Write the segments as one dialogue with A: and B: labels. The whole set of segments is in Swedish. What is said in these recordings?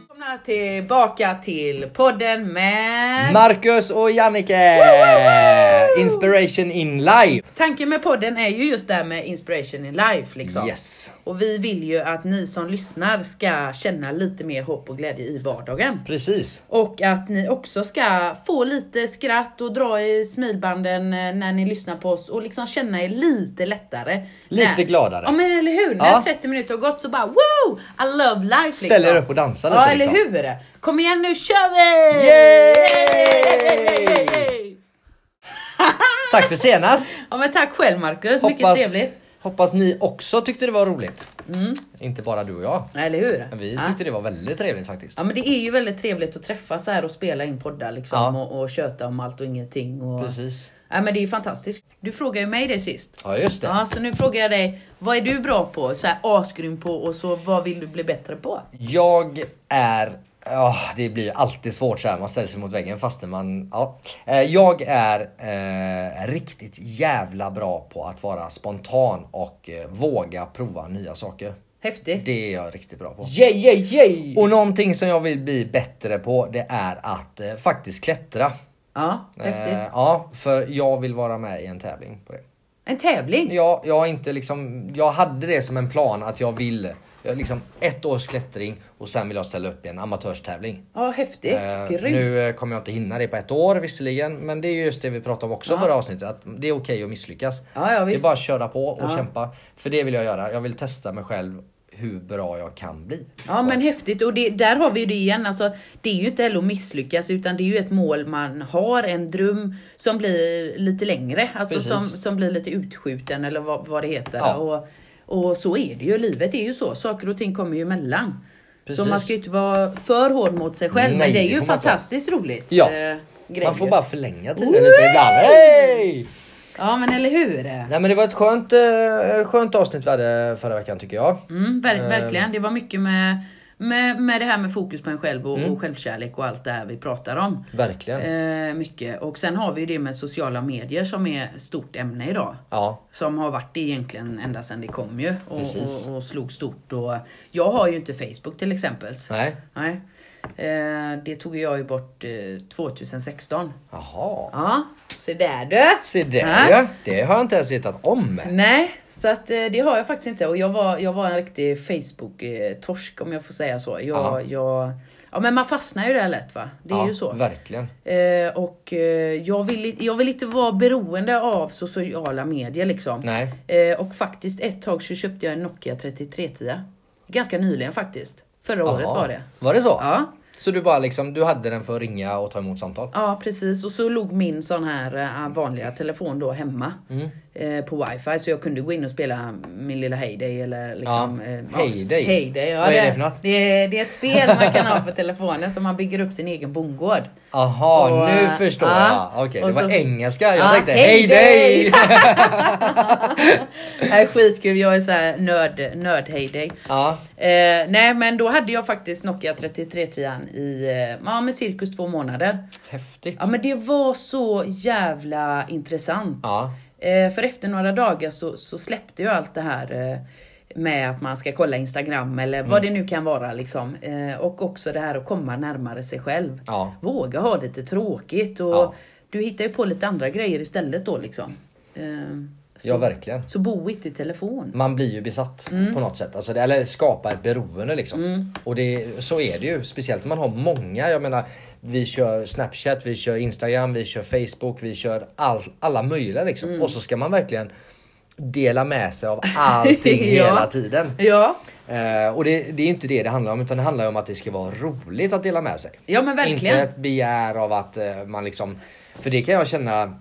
A: välkomna tillbaka till podden med...
B: Marcus och Jannike! Inspiration in life!
A: Tanken med podden är ju just det här med inspiration in life liksom.
B: Yes,
A: Och vi vill ju att ni som lyssnar ska känna lite mer hopp och glädje i vardagen.
B: precis.
A: Och att ni också ska få lite skratt och dra i smilbanden eh, när ni lyssnar på oss och liksom känna er lite lättare.
B: Lite
A: När-
B: gladare.
A: Ja men eller hur! När
B: Ja.
A: 30 minuter har gått så bara wow! I love life liksom.
B: Ställ er upp och dansa lite
A: Ja
B: liksom.
A: eller hur! Kom igen nu kör vi!
B: Yay!
A: Yay!
B: Tack för senast!
A: Ja men tack själv Marcus, mycket trevligt. Mm.
B: hoppas ni också tyckte det var roligt. Inte bara du och jag.
A: Ja, Eller hur?
B: Men vi
A: Ja.
B: tyckte det var väldigt trevligt faktiskt.
A: Ah. Ja men det är ju väldigt trevligt att träffas här och spela in poddar liksom
B: Ja.
A: och, och köta om allt och ingenting. Och...
B: Precis.
A: Ja men det är fantastiskt. Du frågade ju mig det sist.
B: Ja just det.
A: Ja, så nu frågar jag dig, vad är du bra på? Så här asgrym på och så vad vill du bli bättre på?
B: Jag är... ja det blir alltid svårt så här. man ställer sig mot väggen fastän man... Ja. Eh, Jag är eh, riktigt jävla bra på att vara spontan och eh, våga prova nya saker.
A: Häftigt.
B: Det är jag riktigt bra på.
A: Yay, yay, yay!
B: Och någonting som jag vill bli bättre på det är att eh, faktiskt klättra.
A: Ja,
B: Eh,
A: häftigt.
B: ja, för jag vill vara med i en tävling på det.
A: En tävling?
B: Jag, jag, har inte liksom, jag hade det som en plan att jag vill jag liksom ett års klättring och sen vill jag ställa upp i en amatörstävling.
A: Ja, häftigt.
B: Eh,
A: Grymt.
B: nu eh, kommer jag inte hinna det på ett år visserligen men det är just det vi pratade om också förra avsnittet. Att det är okej att misslyckas.
A: Ja, ja,
B: det är
A: visst.
B: bara att köra på och
A: Ja.
B: kämpa. För det vill jag göra. Jag vill testa mig själv hur bra jag kan bli.
A: Ja men häftigt och det, där har vi ju det igen. Alltså, det är ju inte heller att misslyckas utan det är ju ett mål man har, en dröm som blir lite längre. Alltså
B: Precis.
A: som, som blir lite utskjuten eller vad, vad det heter.
B: Ja.
A: Och, och så är det ju, livet är ju så. Saker och ting kommer ju emellan. Så
B: Precis.
A: man ska ju inte vara för hård mot sig själv. men
B: Nej,
A: det
B: det
A: är ju
B: får man inte
A: fantastiskt roligt.
B: Ja.
A: eh, grej
B: Man får
A: ju.
B: bara förlänga tiden lite ibland. Hey!
A: Ja men eller hur?
B: Nej men det var ett skönt, eh, skönt avsnitt vi hade förra veckan tycker jag.
A: Mm, ver
B: Eh.
A: verkligen, det var mycket med, med, med det här med fokus på en själv och,
B: Mm.
A: och självkärlek och allt det här vi pratar om.
B: Verkligen.
A: Eh, mycket. Och sen har vi ju det med sociala medier som är stort ämne idag.
B: Ja.
A: Som har varit det egentligen ända sedan det kom ju och,
B: Precis.
A: och, och slog stort. Och jag har ju inte Facebook till exempel.
B: Nej.
A: Nej. Eh, det tog jag ju bort eh, 2016.
B: Jaha.
A: Ja, se där du!
B: Se
A: Ja.
B: där ja. Det har jag inte ens vetat om.
A: Nej, så att eh, det har jag faktiskt inte. Och jag var, jag var en riktig Facebook-torsk om jag får säga så.
B: Ja.
A: Jag, jag, ja men man fastnar ju där lätt va? Det är
B: ja,
A: ju så.
B: Verkligen.
A: Eh, och eh, jag, vill, i- jag vill inte vara beroende av sociala medier liksom.
B: Nej.
A: Eh, och faktiskt ett tag så köpte jag en Nokia 3310. Ganska nyligen faktiskt. Förra året
B: Jaha.
A: var det.
B: Var det så?
A: Ja.
B: Så du bara liksom, du hade den för att ringa och ta emot samtal?
A: ja, precis. Och så låg min sån här eh, vanliga telefon då hemma.
B: Mm.
A: Eh, på wifi. Så jag kunde gå in och spela min lilla Heyday eller liksom...
B: Ja,
A: eh,
B: Heyday.
A: Heyday, ja,
B: Vad är det för något?
A: Det, är- det är ett spel man kan ha på telefonen så man bygger upp sin egen bondgård.
B: Aha,
A: Och,
B: nu
A: eh,
B: förstår
A: ja.
B: jag. Okej,
A: Och
B: det var
A: så-
B: engelska. Jag
A: Ja,
B: tänkte
A: hej
B: hej dig!
A: Nej, skitkul, jag är såhär nörd, nörd Heyday.
B: ja,
A: Eh, nej men då hade jag faktiskt Nokia 3310 i eh, ja, men cirkus två månader.
B: häftigt.
A: Ja men det var så jävla intressant.
B: Ja,
A: Eh, för efter några dagar så, så släppte ju allt det här eh, med att man ska kolla Instagram eller vad
B: Mm.
A: det nu kan vara liksom. Eh, och också det här att komma närmare sig själv.
B: ja.
A: Våga ha lite tråkigt och
B: Ja.
A: du hittar ju på lite andra grejer istället då liksom. Eh, så,
B: ja verkligen.
A: så bo inte i telefon.
B: Man blir ju besatt
A: Mm.
B: på något sätt. Alltså, det- eller skapar ett beroende liksom. Och det, så är det ju. Speciellt när man har många. Jag menar, vi kör Snapchat, vi kör Instagram, vi kör Facebook, vi kör all, alla möjliga liksom.
A: Mm.
B: Och så ska man verkligen dela med sig av allting
A: Ja.
B: hela tiden.
A: Ja,
B: Eh, och det, det är ju inte det det handlar om utan det handlar ju om att det ska vara roligt att dela med sig.
A: ja men verkligen.
B: Inte ett begär av att eh, man liksom, för det kan jag känna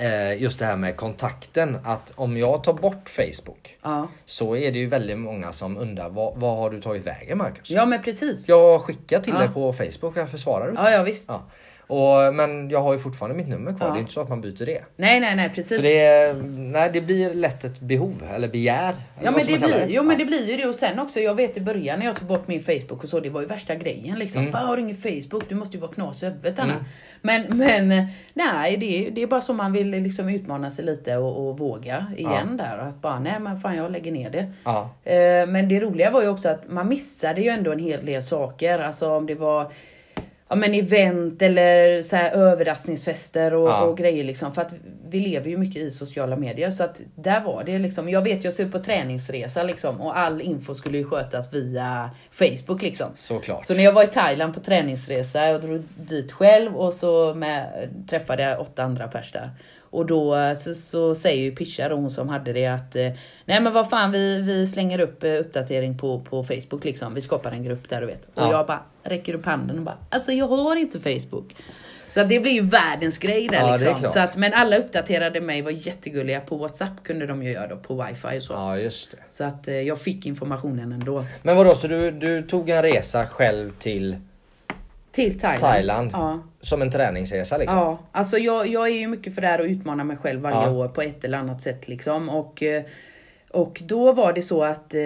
B: eh, just det här med kontakten att om jag tar bort Facebook
A: Ja.
B: så är det ju väldigt många som undrar vad, vad har du tagit vägen Marcus?
A: ja men precis.
B: Jag skickar till
A: Ja.
B: dig på Facebook, varför svarar du inte?
A: Ja, ja visst.
B: Ja. Och, men jag har ju fortfarande mitt nummer kvar.
A: Ja.
B: Det är inte så att man byter det.
A: Nej, nej, nej precis.
B: Så det, nej, det blir lätt ett behov eller begär. eller
A: Ja
B: vad
A: men,
B: ska
A: det
B: man kalla
A: blir, jo, men det blir ju det och sen också, jag vet i början när jag tog bort min Facebook och så, det var ju värsta grejen liksom.
B: Mm.
A: Fan, har du ingen Facebook? Du måste ju vara knas i huvudet Anna. Men, men nej, det, är- det är bara så man vill liksom utmana sig lite och, och våga igen där. Att bara, nej men fan jag lägger ner det.
B: Ja.
A: Eh, Men det roliga var ju också att man missade ju ändå en hel del saker. Alltså om det var ja, men event eller så här överraskningsfester och,
B: Ja.
A: och grejer. Liksom. För att vi lever ju mycket i sociala medier. Så att där var det liksom. Jag vet, jag skulle på träningsresa liksom, och all info skulle ju skötas via Facebook. Liksom.
B: Såklart.
A: Så när jag var i Thailand på träningsresa, jag drog dit själv och så med, träffade jag åtta andra pers där. Och då eh, så, så säger ju Pisha då, hon som hade det att eh, Nej men vad fan vi, vi slänger upp eh, uppdatering på, på Facebook liksom. Vi skapar en grupp där du vet. Och
B: Ja.
A: jag bara räcker upp handen och bara alltså jag har inte Facebook. Så att det blir ju världens grej där
B: Ja, det är
A: liksom.
B: klart.
A: Så att, men alla uppdaterade mig var jättegulliga. På Whatsapp kunde de ju göra då, på wifi och så.
B: Ja, just det.
A: Så att eh, jag fick informationen ändå.
B: Men vadå, så du, du tog en resa själv till
A: Till Thailand.
B: Thailand?
A: Ja.
B: Som en träningsresa liksom?
A: Ja, alltså jag, jag är ju mycket för det här att utmana mig själv varje
B: Ja.
A: år på ett eller annat sätt liksom. Och, eh, och då var det så att eh,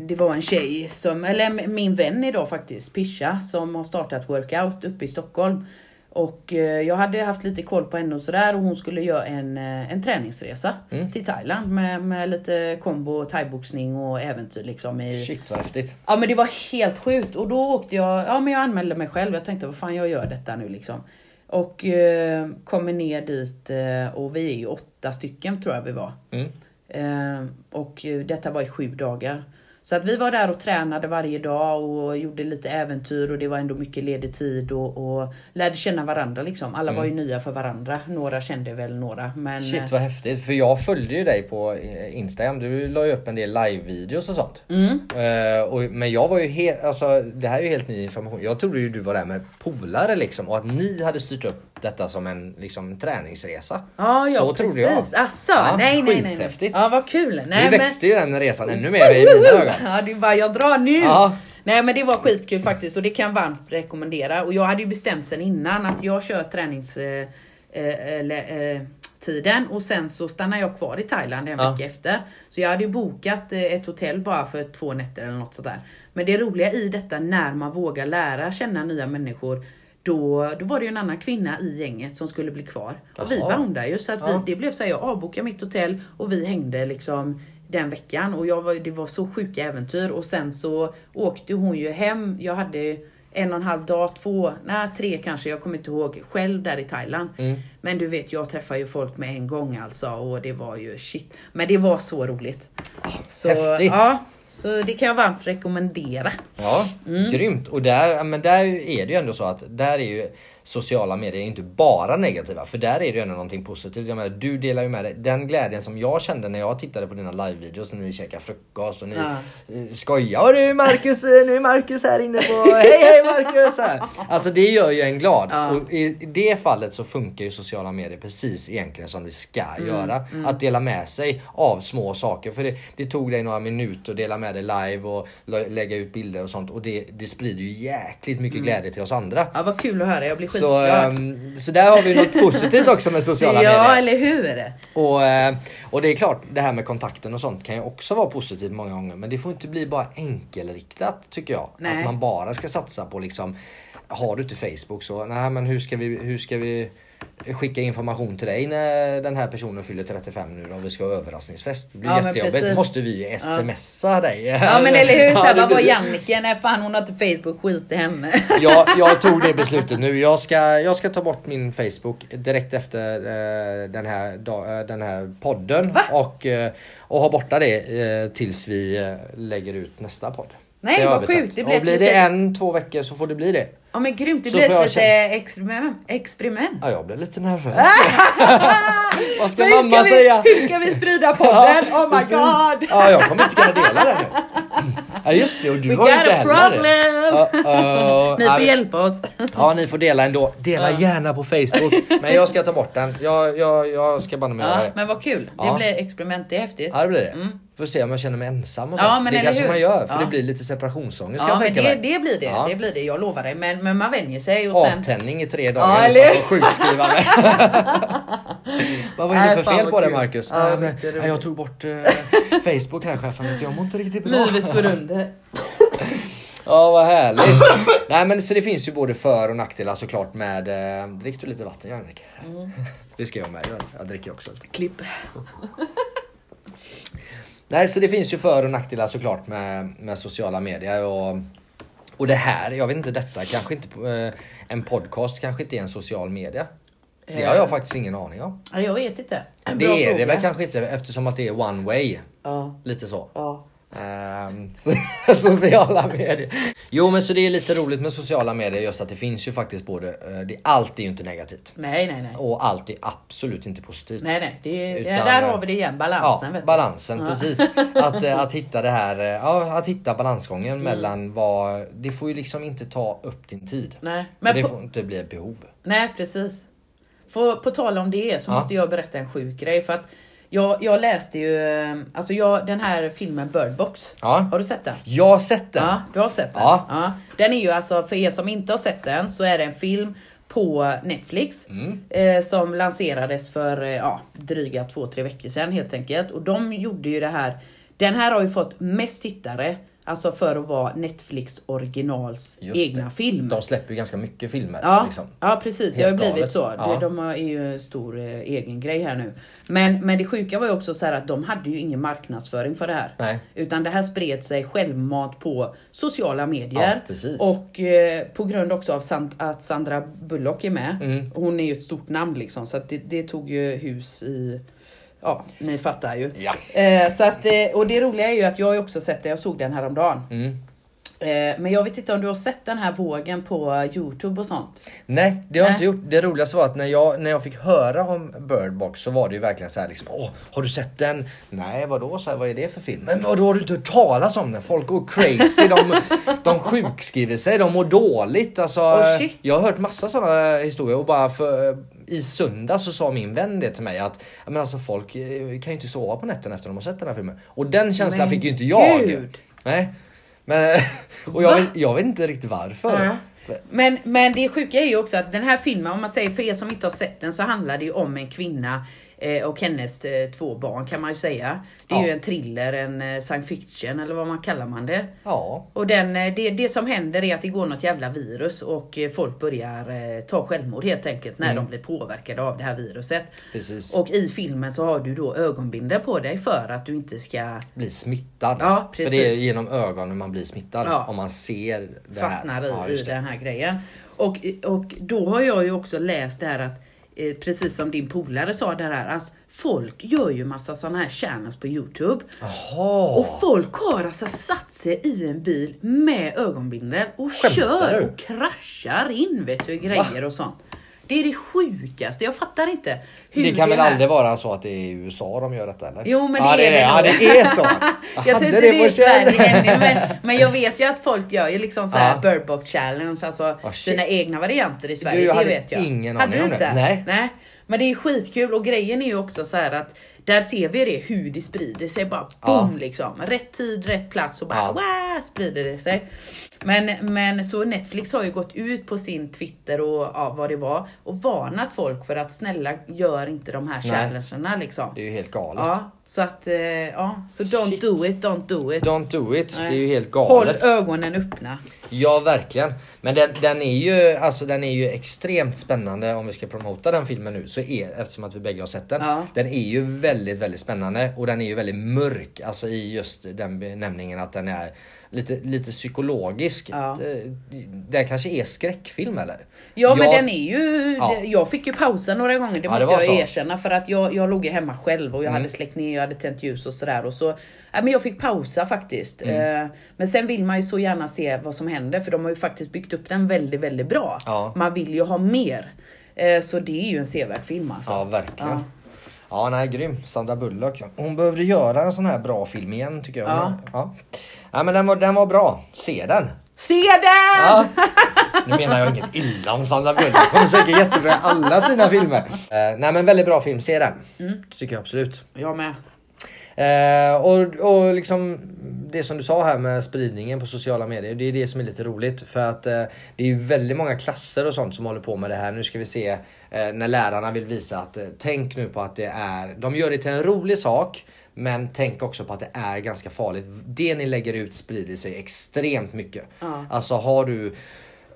A: det var en tjej som, eller m- min vän idag faktiskt, Pisha, som har startat workout uppe i Stockholm. Och eh, jag hade haft lite koll på henne och sådär och hon skulle göra en, eh, en träningsresa
B: Mm.
A: till Thailand med, med lite kombo, thaiboxning och äventyr liksom i,
B: Shit vad häftigt.
A: Ja men det var helt sjukt och då åkte jag, ja men jag anmälde mig själv. Jag tänkte vad fan jag gör detta nu liksom. Och eh, kommer ner dit eh, och vi är ju åtta stycken tror jag vi var.
B: Mm.
A: Eh, och eh, detta var i sju dagar. Så att vi var där och tränade varje dag och gjorde lite äventyr och det var ändå mycket ledig tid och, och lärde känna varandra liksom. Alla var ju nya för varandra. Några kände väl några men...
B: Mm.
A: eh,
B: Shit vad häftigt. För jag följde ju dig på eh, Instagram. Du la ju upp en del live-videos och sånt.
A: Mm.
B: Eh, och, men jag var ju helt, alltså det här är ju helt ny information. Jag trodde ju du var där med polare liksom och att ni hade styrt upp detta som en liksom, träningsresa.
A: Ja, ja
B: Så
A: precis.
B: trodde jag.
A: Asså,
B: Ja,
A: nej, nej, nej, nej.
B: skithäftigt.
A: Ja, vad kul. Nej,
B: nu växte ju den resan ännu mer i mina ögon.
A: Ja, det är bara jag drar nu.
B: Ja.
A: Nej men det var skitkul faktiskt och det kan jag varmt rekommendera. Och jag hade ju bestämt sen innan att jag kör tränings... Eh, eh, eller, eh, tiden och sen så stannar jag kvar i Thailand en
B: Ja.
A: vecka efter. Så jag hade ju bokat eh, ett hotell bara för två nätter eller något sådär. Men det roliga i detta när man vågar lära känna nya människor då, då var det ju en annan kvinna i gänget som skulle bli kvar. Och vi
B: Jaha.
A: boundade ju så att vi,
B: Ja.
A: det blev så här, jag avbokade mitt hotell och vi hängde liksom den veckan och jag var, det var så sjuka äventyr och sen så åkte hon ju hem. Jag hade en och en halv dag, två, nej tre kanske, jag kommer inte ihåg, själv där i Thailand.
B: Mm.
A: Men du vet, jag träffar ju folk med en gång alltså och det var ju shit. Men det var så roligt. Så,
B: Ah, häftigt.
A: Ja, så det kan jag varmt rekommendera.
B: Ja, grymt. Och där, ja, men där är det ju ändå så att där är ju sociala medier inte bara negativa. För där är det ju ändå någonting positivt. Jag menar, du delar ju med dig. Den glädjen som jag kände när jag tittade på dina livevideos när ni käkar frukost och ni
A: Ja.
B: eh, skojar. Och du Marcus, eh, nu är Marcus här inne på hej hej Marcus! Så Här. Alltså det gör ju en glad.
A: Ja.
B: Och i i det fallet så funkar ju sociala medier precis egentligen som det ska
A: Mm,
B: göra. Att dela med sig av små saker. För det, det tog dig några minuter att dela med dig live och lä- lägga ut bilder och sånt. Och det, det sprider ju jäkligt
A: Mm.
B: mycket glädje till oss andra.
A: Ja, vad kul att höra, jag blir
B: Så,
A: skitglad.
B: ehm, så där har vi något positivt också med sociala
A: ja,
B: medier.
A: eller hur?
B: Och, eh, och det är klart, det här med kontakten och sånt kan ju också vara positivt många gånger. Men det får inte bli bara enkelriktat tycker jag.
A: Nej.
B: Att man bara ska satsa på liksom, har du inte Facebook så, nej men hur ska vi, hur ska vi skicka information till dig när den här personen fyller 35 nu och vi ska ha överraskningsfest. Det blir
A: Ja, men
B: jättejobbigt.
A: precis.
B: Måste vi ju smsa dig?
A: Ja men eller hur, såhär,
B: det
A: vad var
B: blir-
A: Jannike? Nej fan hon har inte Facebook, skit i henne.
B: jag, jag tog det beslutet nu. Jag ska, jag ska ta bort min Facebook direkt efter eh, den, här dag, eh, den här podden.
A: Va?
B: Och, eh, och ha borta det eh, tills vi eh, lägger ut nästa podd.
A: Nej,
B: Det är
A: vad
B: översatt.
A: sjukt. Det blir
B: och
A: ett
B: blir det
A: litet-
B: en, två veckor så får det bli det.
A: Ja men grymt, det
B: Så
A: blir
B: får jag
A: ett litet
B: känna-
A: experiment. experiment.
B: Ja, jag blev lite nervös. Vad ska
A: Men hur
B: mamma
A: vi,
B: säga?
A: Hur ska vi sprida podden?
B: Ja,
A: oh my
B: precis.
A: god!
B: Ja, jag kommer inte kunna dela den nu. Ja just det, och du
A: We
B: har ju
A: got
B: inte
A: a
B: heller
A: problem!
B: det. Uh-oh.
A: Ni
B: Ja,
A: får hjälpa oss.
B: Ja ni får dela ändå. Dela gärna på Facebook. Men jag ska ta bort den. Jag, jag, jag ska banne mig göra
A: Ja,
B: det.
A: men vad kul, det
B: Ja.
A: blir experiment, det är häftigt.
B: Ja det blir det.
A: Mm.
B: För att se om jag känner mig ensam och
A: Ja,
B: sånt.
A: men
B: det
A: eller
B: kanske
A: hur?
B: man gör för
A: Ja.
B: det blir lite separationsångest kan
A: Ja
B: jag
A: men
B: tänka
A: det,
B: mig.
A: det blir det,
B: Ja.
A: det blir det. Jag lovar dig. Men, men man vänjer sig och sen...
B: Avtändning i tre dagar och
A: eller
B: så sjukskrivande. Vad var
A: Nej,
B: det för
A: fan
B: fel
A: vad
B: på det
A: kul.
B: Marcus?
A: Ja,
B: Nej, men,
A: mycket roligt.
B: nej, jag tog bort eh, Facebook här chefen, vet du, jag mår inte riktigt bra.
A: Livet går under.
B: Ja vad härligt. Nej men så det finns ju både för och nackdelar såklart med... Eh, drick du lite vatten Jannik?
A: Mm.
B: Det ska jag med göra. Jag dricker också lite.
A: Klipp.
B: Nej så det finns ju för och nackdelar såklart med, med sociala medier och... Och det här, jag vet inte detta, kanske inte... på- Eh, en podcast kanske inte är en social media. Det har jag faktiskt ingen aning om.
A: Ja, jag vet inte.
B: Det
A: Eh. Bra
B: är det
A: fråga.
B: väl kanske inte eftersom att det är one way.
A: Ja.
B: Lite så.
A: ja.
B: Ehm, so- sociala medier. Jo men så det är lite roligt med sociala medier just att det finns ju faktiskt både, eh, det, allt är ju inte negativt.
A: Nej, nej, nej.
B: Och allt är absolut inte positivt.
A: Nej, nej. Det, det,
B: Utan,
A: där
B: eh,
A: har vi det igen. Balansen. vet
B: ja,
A: du.
B: balansen
A: Ja.
B: precis. Att, eh, att hitta det här, eh, ja, att hitta balansgången
A: Mm.
B: mellan vad, det får ju liksom inte ta upp din tid.
A: Nej,
B: Men
A: men
B: det
A: på-
B: får inte bli ett behov.
A: Nej, precis. För, på tal om det så
B: Ja.
A: måste jag berätta en sjuk grej. För att jag, jag läste ju, eh, alltså jag, den här filmen Bird Box.
B: Ja.
A: Har du sett den?
B: Jag har sett den.
A: Ja, du har sett den?
B: Ja.
A: Den är ju alltså, för er som inte har sett den, så är det en film på Netflix
B: Mm.
A: eh, som lanserades för eh, ja, dryga två, tre veckor sedan helt enkelt. Och de gjorde ju det här, den här har ju fått mest tittare, alltså för att vara Netflix originals
B: Just
A: egna
B: det.
A: film.
B: De släpper ju ganska mycket filmer.
A: Ja,
B: Liksom.
A: ja precis, det
B: Helt
A: har ju blivit
B: galet.
A: så.
B: Ja.
A: De, de har är ju en stor eh, egen grej här nu. Men, men det sjuka var ju också så här att de hade ju ingen marknadsföring för det här.
B: Nej.
A: Utan det här spred sig självmant på sociala medier.
B: Ja, precis.
A: och eh, på grund också av San- att Sandra Bullock är med.
B: Mm.
A: Hon är ju ett stort namn liksom så att det, det tog ju hus i Ja, ni fattar ju.
B: Ja.
A: Eh, så att, eh, och det roliga är ju att jag har ju också sett den, jag såg den häromdagen.
B: Mm.
A: Eh, men jag vet inte om du har sett den här vågen på eh, Youtube och sånt?
B: Nej, det har jag
A: Nej.
B: inte gjort. Det roligaste var att när jag, när jag fick höra om Bird Box så var det ju verkligen så här liksom Åh, har du sett den? Nej, vadå? Så här, vad är det för film? Men vadå, har du inte hört talas om den? Folk går crazy, de, de sjukskriver sig, de mår dåligt. Alltså,
A: Åh, Oh, shit.
B: jag har hört massa sådana historier och bara för, i söndag så sa min vän det till mig att "Ja, men alltså, folk eh, kan ju inte sova på nätterna efter de har sett den här filmen. Och den känslan
A: Men
B: fick ju inte jag.
A: gud.
B: Nej. Men, och jag
A: Va?
B: vet, jag vet inte riktigt varför.
A: Men, men det sjuka är ju också att den här filmen, om man säger för er som inte har sett den, så handlar det ju om en kvinna eh, och hennes eh, två barn kan man ju säga. Det är
B: Ja.
A: ju en thriller, en eh, science fiction eller vad man kallar man det.
B: Ja.
A: Och den, eh, det, det som händer är att det går något jävla virus och eh, folk börjar eh, ta självmord helt enkelt när de blir påverkade av det här viruset.
B: Precis.
A: Och i filmen så har du då ögonbindel på dig för att du inte ska
B: bli smittad.
A: Ja,
B: För det är
A: precis.
B: genom ögonen man blir smittad.
A: Ja.
B: Om man ser det
A: fastnar
B: här.
A: i,
B: Ja,
A: i
B: just det.
A: den här grejen. Och, och då har jag ju också läst det här att, eh, precis som din polare sa det här, alltså, folk gör ju massa sådana här channels på Youtube.
B: Jaha!
A: Och folk har alltså satt sig i en bil med ögonbindel och
B: Skämtar
A: kör
B: du?
A: och kraschar in vet du, i grejer och sånt. Det är det sjukaste, jag fattar inte. hur
B: det kan väl
A: här-
B: aldrig vara så att det är i USA de gör detta eller?
A: Jo, men
B: ja,
A: det är det
B: Ja
A: nog.
B: det är så!
A: Jag tror
B: hade
A: inte det
B: på
A: är i Sverige
B: känn.
A: ännu, men, men jag vet ju att folk gör ju liksom såhär
B: Ja. Ah,
A: Bird Box Challenge, alltså
B: shit.
A: sina egna varianter i Sverige.
B: Du, jag
A: det
B: hade
A: vet jag.
B: ingen
A: hade
B: aning
A: du
B: om det.
A: inte?
B: Nej.
A: Nej. Men det är skitkul och grejen är ju också så här att där ser vi det hur det sprider sig bara boom liksom. Rätt tid, rätt plats och bara
B: Ja.
A: wow, sprider det sig. Men, men så Netflix har ju gått ut på sin Twitter och ja, vad det var och varnat folk för att snälla gör inte de här
B: Nej.
A: challengerna liksom.
B: Det är ju helt galet.
A: Ja, så att eh, ja, så don't
B: Shit.
A: do it, don't do it.
B: Don't do it,
A: Nej.
B: det är ju helt
A: Håll
B: galet.
A: ögonen öppna.
B: Ja verkligen. Men den, den, är ju, alltså, den är ju extremt spännande om vi ska promota den filmen nu. Så är, eftersom att vi bägge har sett den.
A: Ja.
B: Den är ju väldigt väldigt spännande och den är ju väldigt mörk. Alltså i just den benämningen att den är lite, lite psykologisk.
A: Ja.
B: Eh, Den kanske är skräckfilm eller?
A: Ja men
B: Jag-
A: den är ju,
B: Ja.
A: det- jag fick ju pausa några gånger, det
B: Ja,
A: måste
B: det var
A: jag
B: så. Mm.
A: erkänna för att jag, jag låg ju hemma själv och jag hade släckt ner, jag hade tänt ljus och sådär och så, ja, men jag fick pausa faktiskt.
B: Mm.
A: Eh, men sen vill man ju så gärna se vad som händer för de har ju faktiskt byggt upp den väldigt, väldigt bra.
B: Ja.
A: Man vill ju ha mer. Eh, så det är ju en sevärd film alltså.
B: Ja verkligen.
A: Ja.
B: Ja. nej grym. Sandra Bullock. Hon behövde göra en sån här bra film igen tycker jag.
A: Ja.
B: Hon- Ja. ja men den var, den var bra. Se den!
A: Se den!
B: Ja. Nu menar jag inget illa om Sandra Bullock. Hon är säkert jättebra i alla sina filmer. Eh, nej men väldigt bra film, se den. Tycker jag absolut.
A: Jag med.
B: Eh, Eh, och, och liksom det som du sa här med spridningen på sociala medier. Det är det som är lite roligt. För att eh, det är ju väldigt många klasser och sånt som håller på med det här. Nu ska vi se eh, när lärarna vill visa att eh, tänk nu på att det är, de gör det till en rolig sak. Men tänk också på att det är ganska farligt. Det ni lägger ut sprider sig extremt mycket.
A: Ja.
B: Alltså har du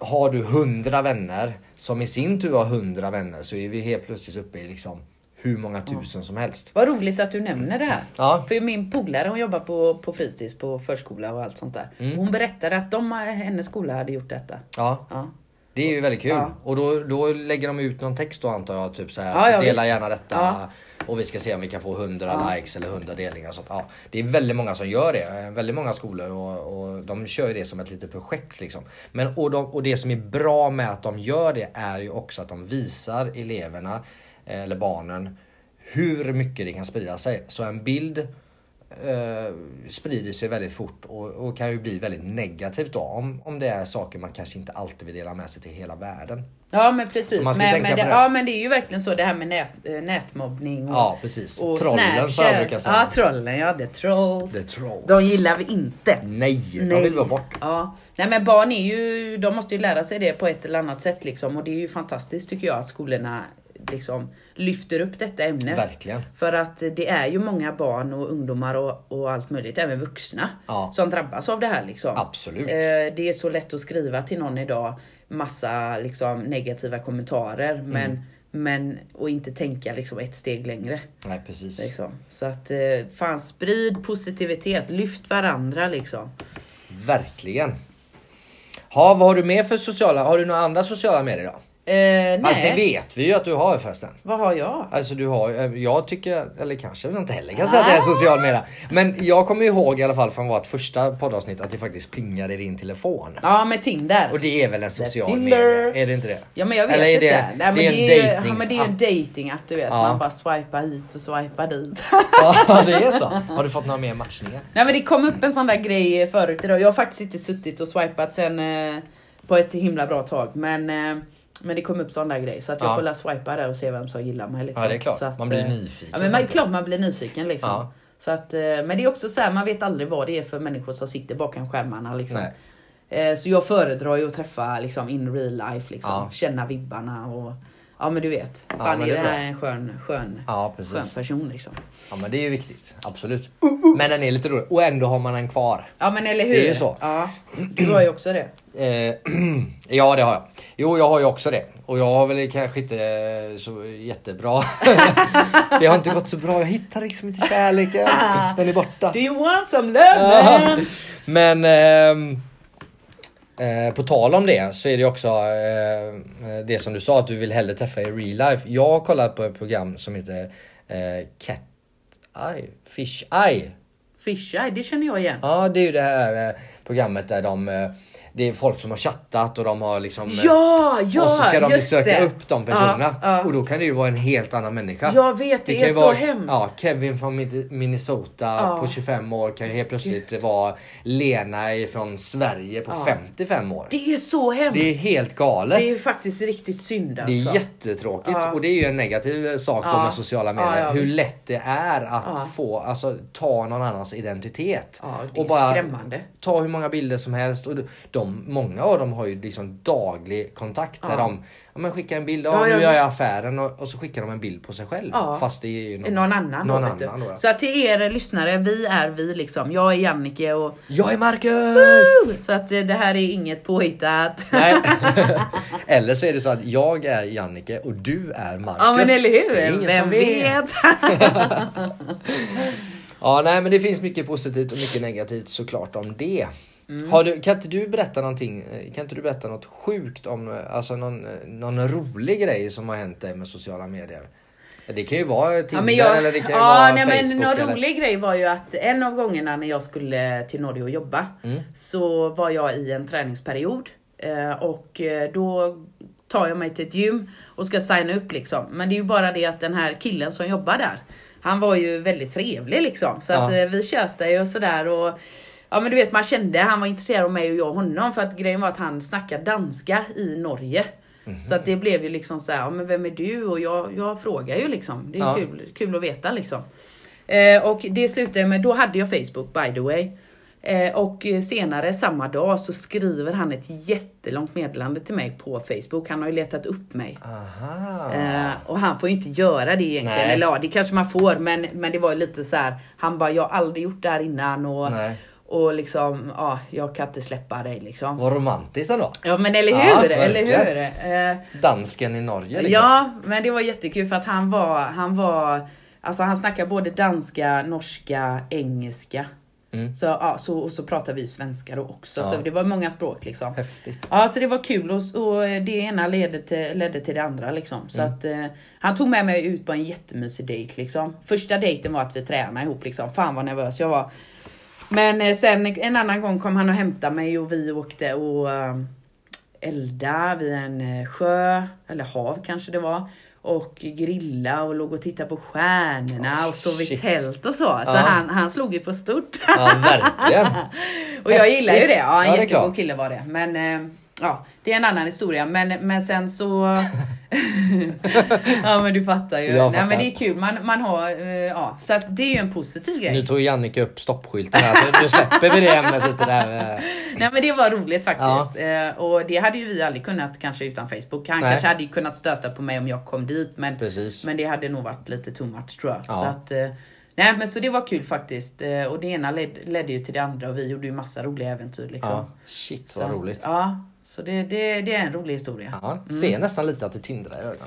B: har du hundra vänner som i sin tur har hundra vänner så är vi helt plötsligt uppe i liksom hur många tusen som helst.
A: Vad roligt att du nämner det här.
B: Ja.
A: För min polare hon jobbar på, på fritids, på förskola och allt sånt där.
B: Mm.
A: Hon berättade att de, hennes skola hade gjort detta.
B: Ja,
A: Ja.
B: det är ju väldigt kul.
A: Ja.
B: Och då, då lägger de ut någon text då antar jag. Typ så här,
A: Ja, ja,
B: att dela
A: visst.
B: gärna detta.
A: Ja.
B: Och vi ska se om vi kan få 100 likes eller 100 delningar. och Sånt. Ja, det är väldigt många som gör det. Eh, Väldigt många skolor och, och de kör ju det som ett litet projekt. Liksom. Men, och, de, och det som är bra med att de gör det är ju också att de visar eleverna eh, eller barnen hur mycket det kan sprida sig. Så en bild eh, sprider sig väldigt fort och, och kan ju bli väldigt negativt då om, om det är saker man kanske inte alltid vill dela med sig till hela världen.
A: Ja men precis.
B: Så man ska
A: men,
B: tänka
A: men,
B: på
A: det,
B: det.
A: ja, men det är ju verkligen så det här med nät, eh, nätmobbning och,
B: Ja precis.
A: och
B: Trollen som jag brukar säga.
A: Ja trollen ja, the trolls.
B: The trolls.
A: De gillar vi inte.
B: Nej, de vill vara bort.
A: Ja. Nej men barn är ju, de måste ju lära sig det på ett eller annat sätt liksom och det är ju fantastiskt tycker jag att skolorna liksom lyfter upp detta ämne.
B: Verkligen.
A: För att det är ju många barn och ungdomar och, och allt möjligt, även vuxna,
B: Ja.
A: som drabbas av det här. Liksom.
B: Absolut.
A: Eh, det är så lätt att skriva till någon idag massa liksom, negativa kommentarer
B: Mm.
A: men, men, och inte tänka liksom, ett steg längre.
B: Nej precis.
A: Liksom. Så att eh, fan sprid positivitet, lyft varandra liksom.
B: Verkligen. Ha, vad har du med för sociala? Har du några andra sociala medier då?
A: Eh,
B: Fast
A: nej,
B: det vet vi ju att du har förresten.
A: vad har jag?
B: Alltså du har eh, jag tycker, eller kanske vi inte heller kan säga att det är social media. Men jag kommer ihåg i alla fall från vårt första poddavsnitt att det faktiskt plingade i din telefon.
A: Ja med Tinder.
B: Och det är väl en social
A: Tinder.
B: media? Är det inte det?
A: Ja men jag vet
B: Eller är
A: inte.
B: det-
A: Nej, men
B: det är en
A: ju- ja, men det är ju en
B: dejtningsapp.
A: datingapp du vet.
B: Ja.
A: Man bara swipar hit och swipar dit.
B: Ja det är så. Har du fått några mer matchningar?
A: Nej men det kom upp en sån där grej förut idag. Jag har faktiskt inte suttit och swipat sen eh, på ett himla bra tag. Men, eh, men det kom upp sån där grej. Så att jag
B: Ja.
A: får la swipa där och se vem som gillar mig. Liksom.
B: Ja, det är klart.
A: Så att,
B: Man blir
A: eh,
B: nyfiken
A: Ja, men man,
B: samtidigt.
A: klart man blir nyfiken liksom.
B: Ja.
A: Så att, eh, men det är också så här, man vet aldrig vad det är för människor som sitter bakom skärmarna. Liksom.
B: Nej.
A: Eh, Så jag föredrar ju att träffa liksom, in real life, liksom.
B: Ja.
A: känna vibbarna och ja men du vet.
B: Ja,
A: Fan
B: men
A: är
B: det
A: det här
B: är bra.
A: en skön, skön,
B: Ja precis.
A: skön person liksom.
B: Ja men det är ju viktigt. Absolut. Men den är lite rolig. Och ändå har man den kvar.
A: Ja men eller hur.
B: Det är ju så.
A: Ja. Du har ju också det.
B: Eh, ja det har jag. Jo jag har ju också det. Och jag har väl kanske inte eh, så jättebra. det har inte gått så bra. Jag hittar liksom inte kärleken. Den är borta.
A: Do you want some love
B: Ja.
A: man?
B: Men ehm, eh, på tal om det så är det också eh, det som du sa att du vill hellre träffa i real life. Jag har kollat på ett program som heter eh, Cat Eye, Fish Eye.
A: Fish eye, det känner jag igen.
B: Ja det är ju det här eh, programmet där de eh, det är folk som har chattat och de har liksom eh,
A: Ja, ja
B: och så ska de
A: just
B: söka
A: det.
B: upp de personerna.
A: Ja, ja.
B: Och då kan det ju vara en helt annan människa.
A: Jag vet, det
B: kan
A: är
B: ju
A: så
B: vara,
A: hemskt.
B: Ja, Kevin från Min- Minnesota
A: Ja.
B: på 25 år kan ju helt plötsligt vara Lena från Sverige på 55 år. Det,
A: Det är så hemskt.
B: är helt galet.
A: Det är ju faktiskt riktigt synd
B: Det
A: alltså.
B: är jättetråkigt
A: Ja.
B: och det är ju en negativ sak då
A: Ja.
B: med sociala medier.
A: Ja, ja,
B: Hur
A: visst.
B: lätt det är att
A: Ja.
B: få, alltså ta någon annans identitet.
A: Ja, det är
B: och bara
A: skrämmande.
B: ta hur många bilder som helst. Och de, många av dem har ju liksom daglig kontakt
A: Ja.
B: där de ja, men skickar en bild, av
A: Ja, ja,
B: nu
A: ja.
B: gör jag affären och, och så skickar de en bild på sig själv.
A: Ja.
B: Fast det är ju någon,
A: någon annan.
B: någon
A: då, vet du.
B: annan då, ja.
A: Så att till er lyssnare, vi är vi liksom. Jag är Jannike och
B: Jag är Marcus!
A: så att eh, det här är inget påhittat.
B: Nej. Eller så är det så att jag är Jannike och du är Marcus.
A: Ja men eller hur?
B: Det är ingen
A: Vem
B: som
A: vet?
B: Ja, nej men det finns mycket positivt och mycket negativt såklart om det.
A: Mm.
B: Har du, kan inte du berätta någonting, eh, kan inte du berätta något sjukt om, eh, alltså någon, eh, någon rolig grej som har hänt dig med sociala medier? Det kan ju vara Tinder eller det kan ju vara
A: nej,
B: Facebook.
A: men någon
B: eller...
A: rolig grej var ju att en av gångerna när jag skulle till Norge och jobba
B: Mm.
A: så var jag i en träningsperiod eh, och eh, då tar jag mig till ett gym och ska signa upp liksom. Men det är ju bara det att den här killen som jobbar där, han var ju väldigt trevlig liksom. Så att
B: Ja.
A: eh, vi tjötade ju och sådär och Ja men du vet man kände han var intresserad av mig och jag och honom för att grejen var att han snackade danska i Norge.
B: Mhm.
A: Så att det blev ju liksom så här, ja men vem är du? Och jag, jag frågar ju liksom. Det är
B: Ja.
A: kul, kul att veta liksom. Eh, Eh, och det slutade med, då hade jag Facebook by the way. Eh, och senare samma dag så skriver han ett jättelångt meddelande till mig på Facebook. Han har ju letat upp mig.
B: Aha.
A: Eh, och han får ju inte göra det egentligen.
B: Nej.
A: Eller ja, det kanske man får. Men, men det var ju lite så här. Han bara, jag har aldrig gjort det här innan. Och,
B: Nej.
A: och liksom, ja, jag kan inte släppa dig liksom.
B: Vad romantiskt ändå.
A: Ja men eller
B: Ja,
A: hur? eller
B: verkligen.
A: hur? Eh,
B: Dansken i Norge liksom.
A: Ja, men det var jättekul för att han var, han var, alltså han snackar både danska, norska, engelska.
B: Mm.
A: Så, ja, så, och så pratar vi svenska då också,
B: Ja.
A: så det var många språk liksom.
B: Häftigt.
A: Ja, så det var kul och, och det ena ledde till, ledde till det andra liksom. Så
B: Mm.
A: att eh, han tog med mig ut på en jättemysig dejt liksom. Första dejten var att vi tränade ihop liksom. Fan vad nervös jag var. Men eh, sen en annan gång kom han och hämtade mig och vi åkte och eh, elda vid en eh, sjö, eller hav kanske det var. Och grilla och låg och tittade på stjärnorna
B: Oh,
A: och sov i
B: shit.
A: tält och så. Så
B: Ja.
A: han, han slog ju på stort.
B: Ja, verkligen.
A: Och jag gillar ju det.
B: Ja,
A: Ja,
B: det
A: en
B: är
A: jättegod
B: klart.
A: kille var det. Men eh, ja, det är en annan historia. Men, men sen så... ja men du fattar ju.
B: Jag
A: Nej
B: fattar.
A: men det är kul. Man, man har... eh, ja, så att det är ju en positiv grej.
B: Nu tog Jannike upp stoppskylten här. Nu släpper vi det ämnet lite där. eh. med-
A: Nej men det var roligt faktiskt. Eh, och det hade ju vi aldrig kunnat kanske utan Facebook. Han
B: Nej.
A: kanske hade ju kunnat stöta på mig om jag kom dit. Men,
B: Precis.
A: men det hade nog varit lite too much tror jag.
B: Ja.
A: Så att, eh, nej men så det var kul faktiskt. Eh, och det ena led, ledde ju till det andra och vi gjorde ju massa roliga äventyr liksom.
B: Ja. Shit
A: Så
B: vad
A: att-
B: roligt.
A: Ja, så det, det, det är en rolig historia.
B: Ja, ser nästan lite att det tindrar i ögonen.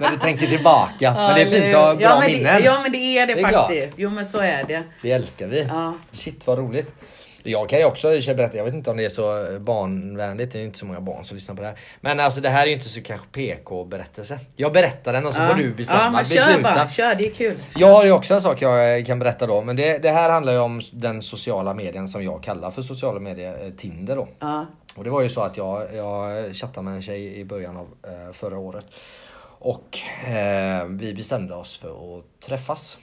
B: När du tänker tillbaka. Men det är fint att ha bra
A: ja, men
B: minnen.
A: Det, ja men det är det,
B: Det är klart.
A: faktiskt. Jo men så är det.
B: Det älskar vi.
A: Ja.
B: Shit vad roligt. Jag kan ju också berätta, jag vet inte om det är så barnvänligt, det är inte så många barn som lyssnar på det här. Men alltså det här är ju inte så kanske PK-berättelse. Jag berättar den och så
A: ja.
B: får du bestämma,
A: Ja men kör
B: besluta.
A: bara, kör det är kul.
B: Jag har ju också en sak jag eh, kan berätta då, men det, det här handlar ju om den sociala medien som jag kallar för sociala medier, eh, Tinder då.
A: Ja.
B: Och det var ju så att jag, jag chattade med en tjej i början av eh, förra året. Och eh, vi bestämde oss för att träffas.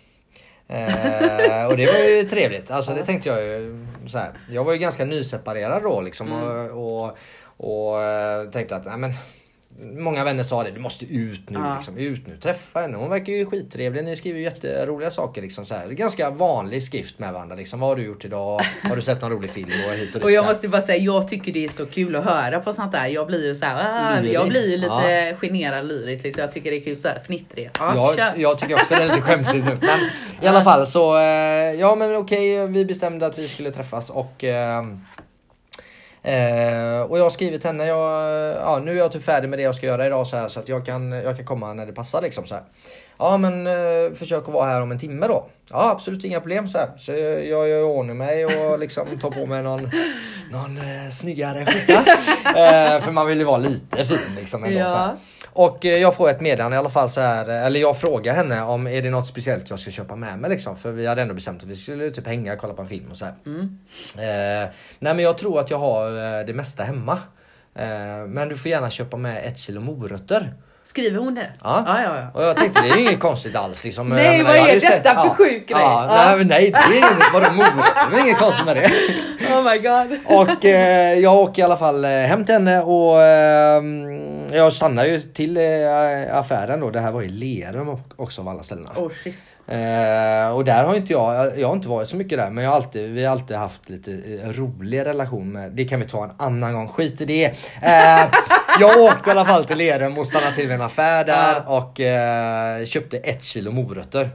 B: Eh, och det var ju trevligt. Alltså det tänkte jag ju så här. Jag var ju ganska nyseparerad då liksom.
A: Mm.
B: Och, och, och eh, tänkte att, nej men. Många vänner sa det, du måste ut nu
A: Ja.
B: liksom. Ut nu, träffa henne. Hon verkar ju skittrevlig. Ni skriver ju jätteroliga saker liksom. Så här. Ganska vanlig skrift med varandra liksom. Vad har du gjort idag? Har du sett någon rolig film? Och hit och dit.
A: Och jag
B: så här.
A: måste bara säga, jag tycker det är så kul att höra på sånt där. Jag blir ju såhär, ah,
B: Lyrisk.
A: jag blir ju lite generad lyrisk. Liksom. Jag tycker det är kul såhär fnittrigt. Ja,
B: Jag,
A: kör.
B: jag tycker också det är lite skämsigt nu. Men i alla fall så, eh, ja men okej vi bestämde att vi skulle träffas och eh, eh, och jag har skrivit till henne, jag, ja, nu är jag typ färdig med det jag ska göra idag så här så att jag kan, jag kan komma när det passar liksom så här. Ja men eh, försök att vara här om en timme då. Ja absolut inga problem så här. Så jag jag gör i ordning mig och liksom tar på mig någon, någon eh, snyggare skjorta. eh, för man vill ju vara lite fin liksom ändå.
A: Ja.
B: Så här. Och eh, jag får ett meddelande i alla fall så här, eh, eller jag frågar henne om är det något speciellt jag ska köpa med mig liksom. För vi hade ändå bestämt att vi skulle typ hänga och kolla på en film och så här.
A: Mm.
B: Eh, nej men jag tror att jag har eh, det mesta hemma. Eh, men du får gärna köpa med ett kilo morötter.
A: Skriver hon det?
B: Ja.
A: ja, ja. ja.
B: Och jag tänkte det är ju inget konstigt alls liksom.
A: Nej,
B: Jag menar,
A: vad
B: jag
A: är
B: hade ju
A: detta för
B: ja,
A: sjuk grej?
B: Ja,
A: Ja.
B: Nej, men nej det är inget, vadå morötter? Det är inget konstigt med det.
A: Oh my god.
B: Och eh, jag åker i alla fall eh, hem till henne och eh, jag stannar ju till eh, affären då. Det här var i Lerum och- också av alla ställena.
A: Oh shit.
B: Eh, och där har inte jag, jag har inte varit så mycket där men jag har alltid, vi har alltid haft lite eh, rolig relation med, det kan vi ta en annan gång, skit i det. Eh, jag åkte i alla fall till Lerum och stannade till vid en affär där och eh, köpte ett kilo morötter.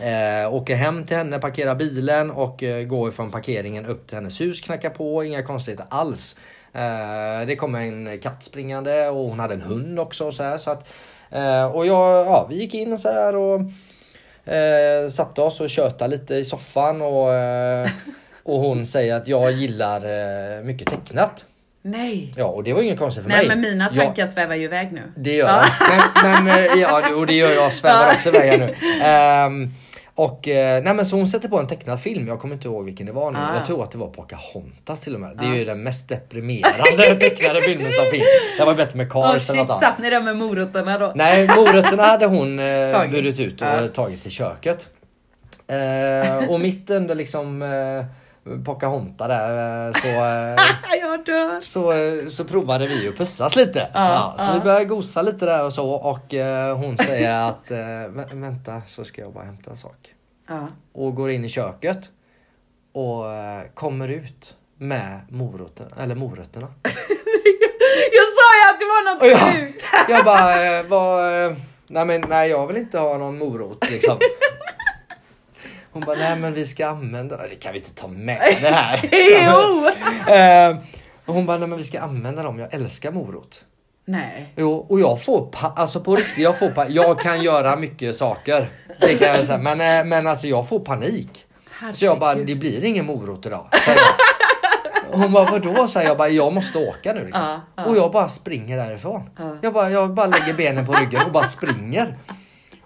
B: Eh, åker hem till henne, parkerar bilen och eh, går från parkeringen upp till hennes hus, knackar på, inga konstigheter alls. Eh, det kom en katt springande och hon hade en hund också. Och så här, så att, eh, och jag, ja, vi gick in och så här och eh, satte oss och tjötade lite i soffan och, eh, och hon säger att jag gillar eh, mycket tecknat.
A: Nej.
B: Ja och det var ju inget konstigt för
A: Nej
B: mig.
A: men mina
B: Jag-
A: tankar svävar ju iväg nu.
B: det gör jag. Men, men eh, ja, jo, det gör jag. Svävar
A: Ja.
B: också iväg här nu. Ehm, och eh, nej men så hon sätter på en tecknad film, jag kommer inte ihåg vilken det var nu.
A: Ah.
B: Jag tror att det var Pocahontas till och med. Det är ju den mest deprimerande tecknade filmen som finns. Det var bättre med
A: Oh,
B: Cars eller
A: shit,
B: något annat.
A: satt ni där med morötterna då?
B: Nej, morötterna hade hon eh,
A: Tagit.
B: burit ut och
A: Ja.
B: tagit till köket. Eh, och mitt under liksom eh, Pocahontas där eh, så, eh,
A: Ah, jag dör.
B: så, eh, så provade vi att pussas lite.
A: Ja,
B: ja, så
A: ja.
B: vi började gosa lite där och så och eh, hon säger att eh, vä- vänta så ska jag bara hämta en sak.
A: Ja.
B: och går in i köket och eh, kommer ut med moroten, eller morötterna.
A: Jag sa ju att det var något
B: Och jag,
A: sjukt!
B: jag bara, eh, vad, eh, nej men nej jag vill inte ha någon morot liksom. Hon bara, nej men vi ska använda dem. Det kan vi inte ta med det här.
A: Jo!
B: Eh, och hon bara, nej men vi ska använda dem, jag älskar morot.
A: Nej.
B: Jo, och jag får, pa- alltså på riktigt, jag får pa- jag kan göra mycket saker. Det kan jag säga. Men, eh, men alltså jag får panik. Så jag bara,
A: Herregud.
B: det blir ingen morot idag. säger jag. Hon bara, vadå? säger jag bara, jag måste åka nu liksom.
A: Ja, ja.
B: Och jag bara springer därifrån.
A: Ja.
B: Jag, bara, jag bara lägger benen på ryggen och bara springer.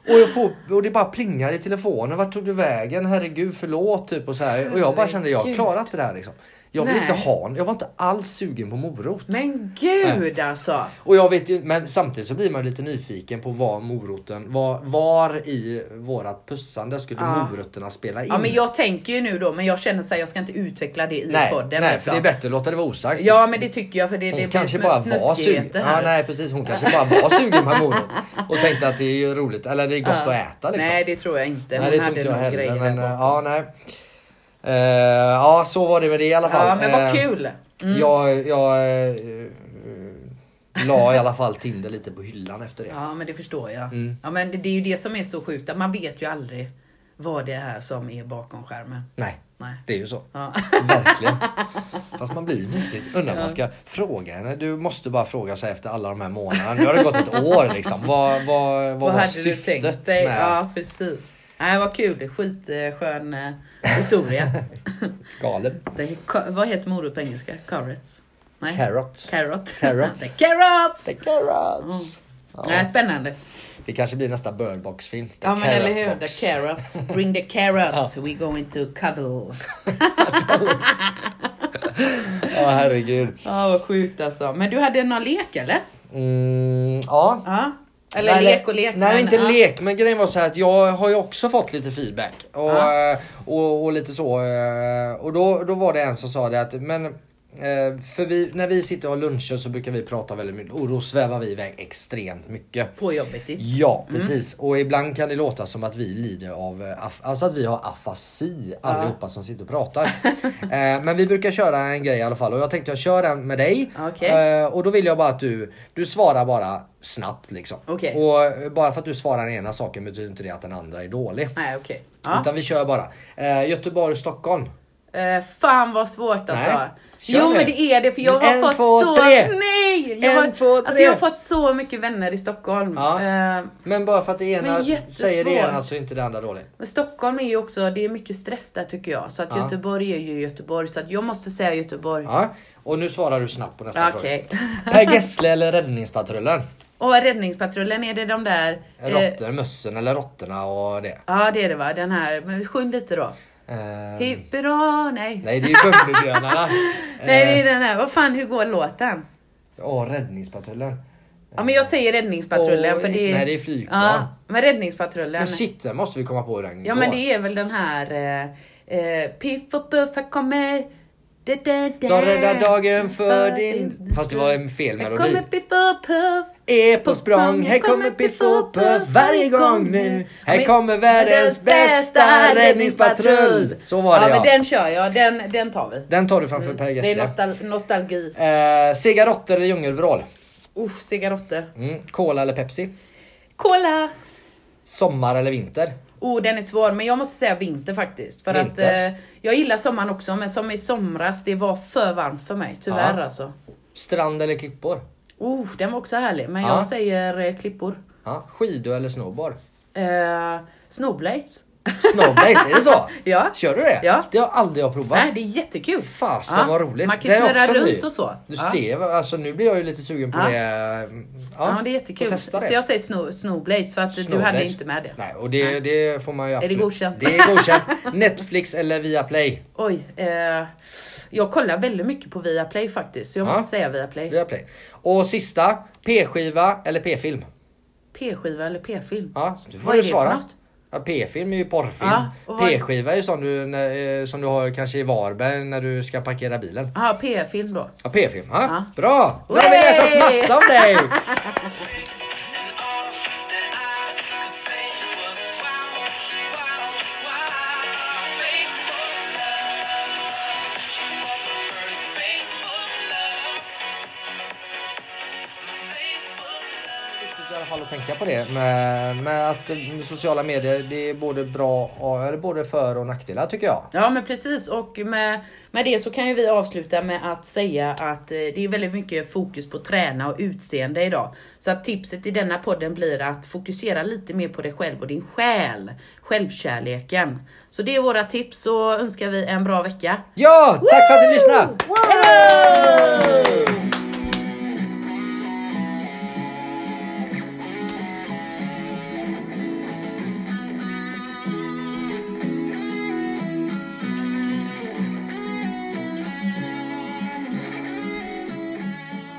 B: Och, jag får, och det bara plingar i telefonen, vart tog du vägen? Herregud förlåt typ och så här. Och jag bara kände, jag
A: Herregud.
B: klarar inte det här liksom. Jag vill
A: Nej.
B: inte ha en, jag var inte alls sugen på morot.
A: Men gud alltså!
B: Och jag vet ju, men samtidigt så blir man lite nyfiken på var moroten, var, var i vårat pussande skulle
A: Ja.
B: morötterna spela in?
A: Ja men jag tänker ju nu då, men jag känner så här, jag ska inte utveckla det i
B: nej,
A: podden.
B: nej
A: liksom.
B: för det är bättre att låta det vara osagt.
A: Ja men det tycker jag för det, det
B: hon
A: blir
B: kanske
A: små
B: bara var sugen.
A: snuskigheter
B: Ja,
A: här.
B: nej precis, hon kanske bara var sugen på morot och tänkte att det är ju roligt, eller det är gott
A: Ja.
B: att äta liksom.
A: Nej det tror jag inte. Hon
B: Nej, det tror
A: hade
B: inte jag
A: någon grej
B: heller.
A: där
B: Men,
A: bakom.
B: eh, ja, nej. Eh, ja, så var det med det i alla fall.
A: Ja men vad
B: Eh,
A: kul! Mm.
B: Jag, jag eh, eh, la i alla fall Tinder lite på hyllan efter det.
A: Ja men det förstår jag.
B: Mm.
A: Ja men det, det är ju det som är så sjukt, att man vet ju aldrig vad det är som är bakom skärmen.
B: Nej,
A: Nej.
B: det är ju så.
A: Ja.
B: Verkligen. Fast man blir ju nyfiken. Undrar om man ska fråga henne. Du måste bara fråga sig efter alla de här månaderna. Nu har det gått ett år liksom. Vad, vad, vad,
A: Vad
B: var
A: hade du
B: syftet
A: tänkt dig?
B: med...
A: Ja precis. Nej vad kul, skitskön eh, historia.
B: Galen.
A: Det är, ka- vad heter morot på engelska? Carrots? Nej.
B: Carrot.
A: Carrot.
B: Carrots.
A: The carrots!
B: The carrots.
A: Mm. Nej,
B: Ja,
A: spännande.
B: det kanske blir nästa Birdbox-film. The
A: Ja men
B: Carrot
A: eller hur,
B: Box.
A: the carrots. Bring the carrots, we going to cuddle.
B: Ja herregud.
A: Ja vad sjukt alltså. Men du hade någon lek eller?
B: Mm, ja.
A: Ja. Eller
B: Nej,
A: lek och lek.
B: Nej
A: men,
B: inte
A: ja.
B: lek men grejen var så här att jag har ju också fått lite feedback. Och, eh, och, och lite så. eh, Och då, då var det en som sa det att men eh, för vi, när vi sitter och har luncher så brukar vi prata väldigt mycket och då svävar vi iväg extremt mycket.
A: På jobbet ditt.
B: Ja
A: Mm.
B: precis och ibland kan det låta som att vi lider av eh, af- alltså att vi har afasi allihopa som sitter och pratar. eh, men vi brukar köra en grej i alla fall och jag tänkte jag kör den med dig
A: Okej.
B: eh, och då vill jag bara att du, du svarar bara snabbt liksom.
A: Okej.
B: Och eh, bara för att du svarar den ena saken betyder inte det att den andra är dålig.
A: Nej okej. Ja.
B: Utan vi kör bara. Eh, Göteborg, Stockholm.
A: Eh, fan vad svårt alltså.
B: Nej, kör
A: jo
B: nu.
A: men det är det för jag har
B: Men en,
A: fått
B: två,
A: så...
B: tre.
A: Nej! Jag har,
B: En, två,
A: Alltså
B: tre.
A: jag har fått så mycket vänner i Stockholm.
B: Ja.
A: Eh,
B: Men bara för att det ena
A: Men jättesvårt.
B: säger det ena så är inte det andra dåligt.
A: men Stockholm är ju också, det är mycket stress där tycker jag. Så att
B: Ja.
A: Göteborg är ju Göteborg. Så att jag måste säga Göteborg.
B: Ja. Och nu svarar du snabbt på nästa
A: Okej.
B: fråga. Per Gessle eller Räddningspatrullen?
A: Och räddningspatrullen, är det de där? eh,
B: Råttor, mössen eller råttorna och det.
A: ja det är det va? Den här, men sjung lite då.
B: Ehm,
A: Hipp hurra, nej. nej.
B: nej det är ju Eh, Bumbibjörnarna.
A: det är den här, vad fan hur går låten?
B: Och Räddningspatrullen.
A: Ja men jag säger räddningspatrullen
B: Åh,
A: för det är...
B: nej, det är flygplan.
A: Ja, men räddningspatrullen.
B: Men shit den måste vi komma på hur den
A: Ja
B: går.
A: men det är väl den här... Eh, eh, Piff och Puff här kommer... Da, da, da.
B: De räddar dagen för din... Fast det var en fel
A: Här
B: melodi.
A: kommer Piff och Puff.
B: Är på språng, här kommer Piff och Puff varje gång nu. Här kommer världens bästa räddningspatrull. Så var det
A: ja.
B: ja.
A: men den kör jag, den, den tar vi.
B: Den tar du framför Per
A: Det är
B: Gessle.
A: nostal- nostalgi.
B: Eh, Sega råttor eller djungelvrål?
A: Usch, cigaretter.
B: Mm. Cola eller Pepsi?
A: Kolla!
B: Sommar eller vinter?
A: Oh, den är svår, men jag måste säga vinter faktiskt. För
B: Vinter.
A: att eh, jag gillar sommaren också, men som i somras, det var för varmt för mig. Tyvärr
B: Ja.
A: alltså.
B: Strand eller klippor?
A: Oh, den var också härlig, men
B: Ja.
A: jag säger eh, klippor.
B: Ja. Skidor eller snowboard?
A: Eh, snowblades.
B: Snowblades, är det så?
A: Ja.
B: Kör du det?
A: Ja.
B: Det har aldrig jag provat.
A: Nej, det är jättekul.
B: Fasen
A: Ja,
B: vad roligt.
A: Man kan
B: Det
A: ju
B: är
A: snurra
B: också
A: runt
B: ny.
A: och så.
B: Du
A: ja.
B: ser, alltså nu blir jag ju lite sugen på
A: Ja.
B: det. Ja,
A: Ja, det är jättekul.
B: får Testa det.
A: Så jag säger snow, snowblades för att du hade
B: Snowblades.
A: inte med det.
B: Nej, och det, det får man ju
A: det
B: absolut.
A: godkänt?
B: Det är godkänt. Netflix eller Viaplay?
A: Oj, eh, jag kollar väldigt mycket på Viaplay faktiskt, så jag
B: Ja.
A: måste säga Viaplay.
B: Viaplay. Och sista, P-skiva eller P-film?
A: P-skiva eller P-film?
B: Ja, du får
A: Vad
B: ju
A: är det för
B: svara.
A: något?
B: Ja, P-film är ju porrfilm.
A: Ja, och vad-
B: P-skiva är ju sån du, när- eh, som du har kanske i Varberg när du ska parkera bilen.
A: Ja, P-film då.
B: Ja, P-film. Ja.
A: Ja.
B: Bra! Nu har vi lärt oss
A: Wey!
B: massa om dig!
C: all that I could say was wow, wow, wow.
B: alla fall att tänka på det med, med att eh, sociala medier det är både bra och eller både för och nackdelar tycker jag.
A: Ja men precis och med, med det så kan ju vi avsluta med att säga att eh, det är väldigt mycket fokus på träna och utseende idag. Så att tipset i denna podden blir att fokusera lite mer på dig själv och din själ. Självkärleken. Så det är våra tips så önskar vi en bra vecka.
B: Ja, tack för att ni lyssnade!
A: Hej då!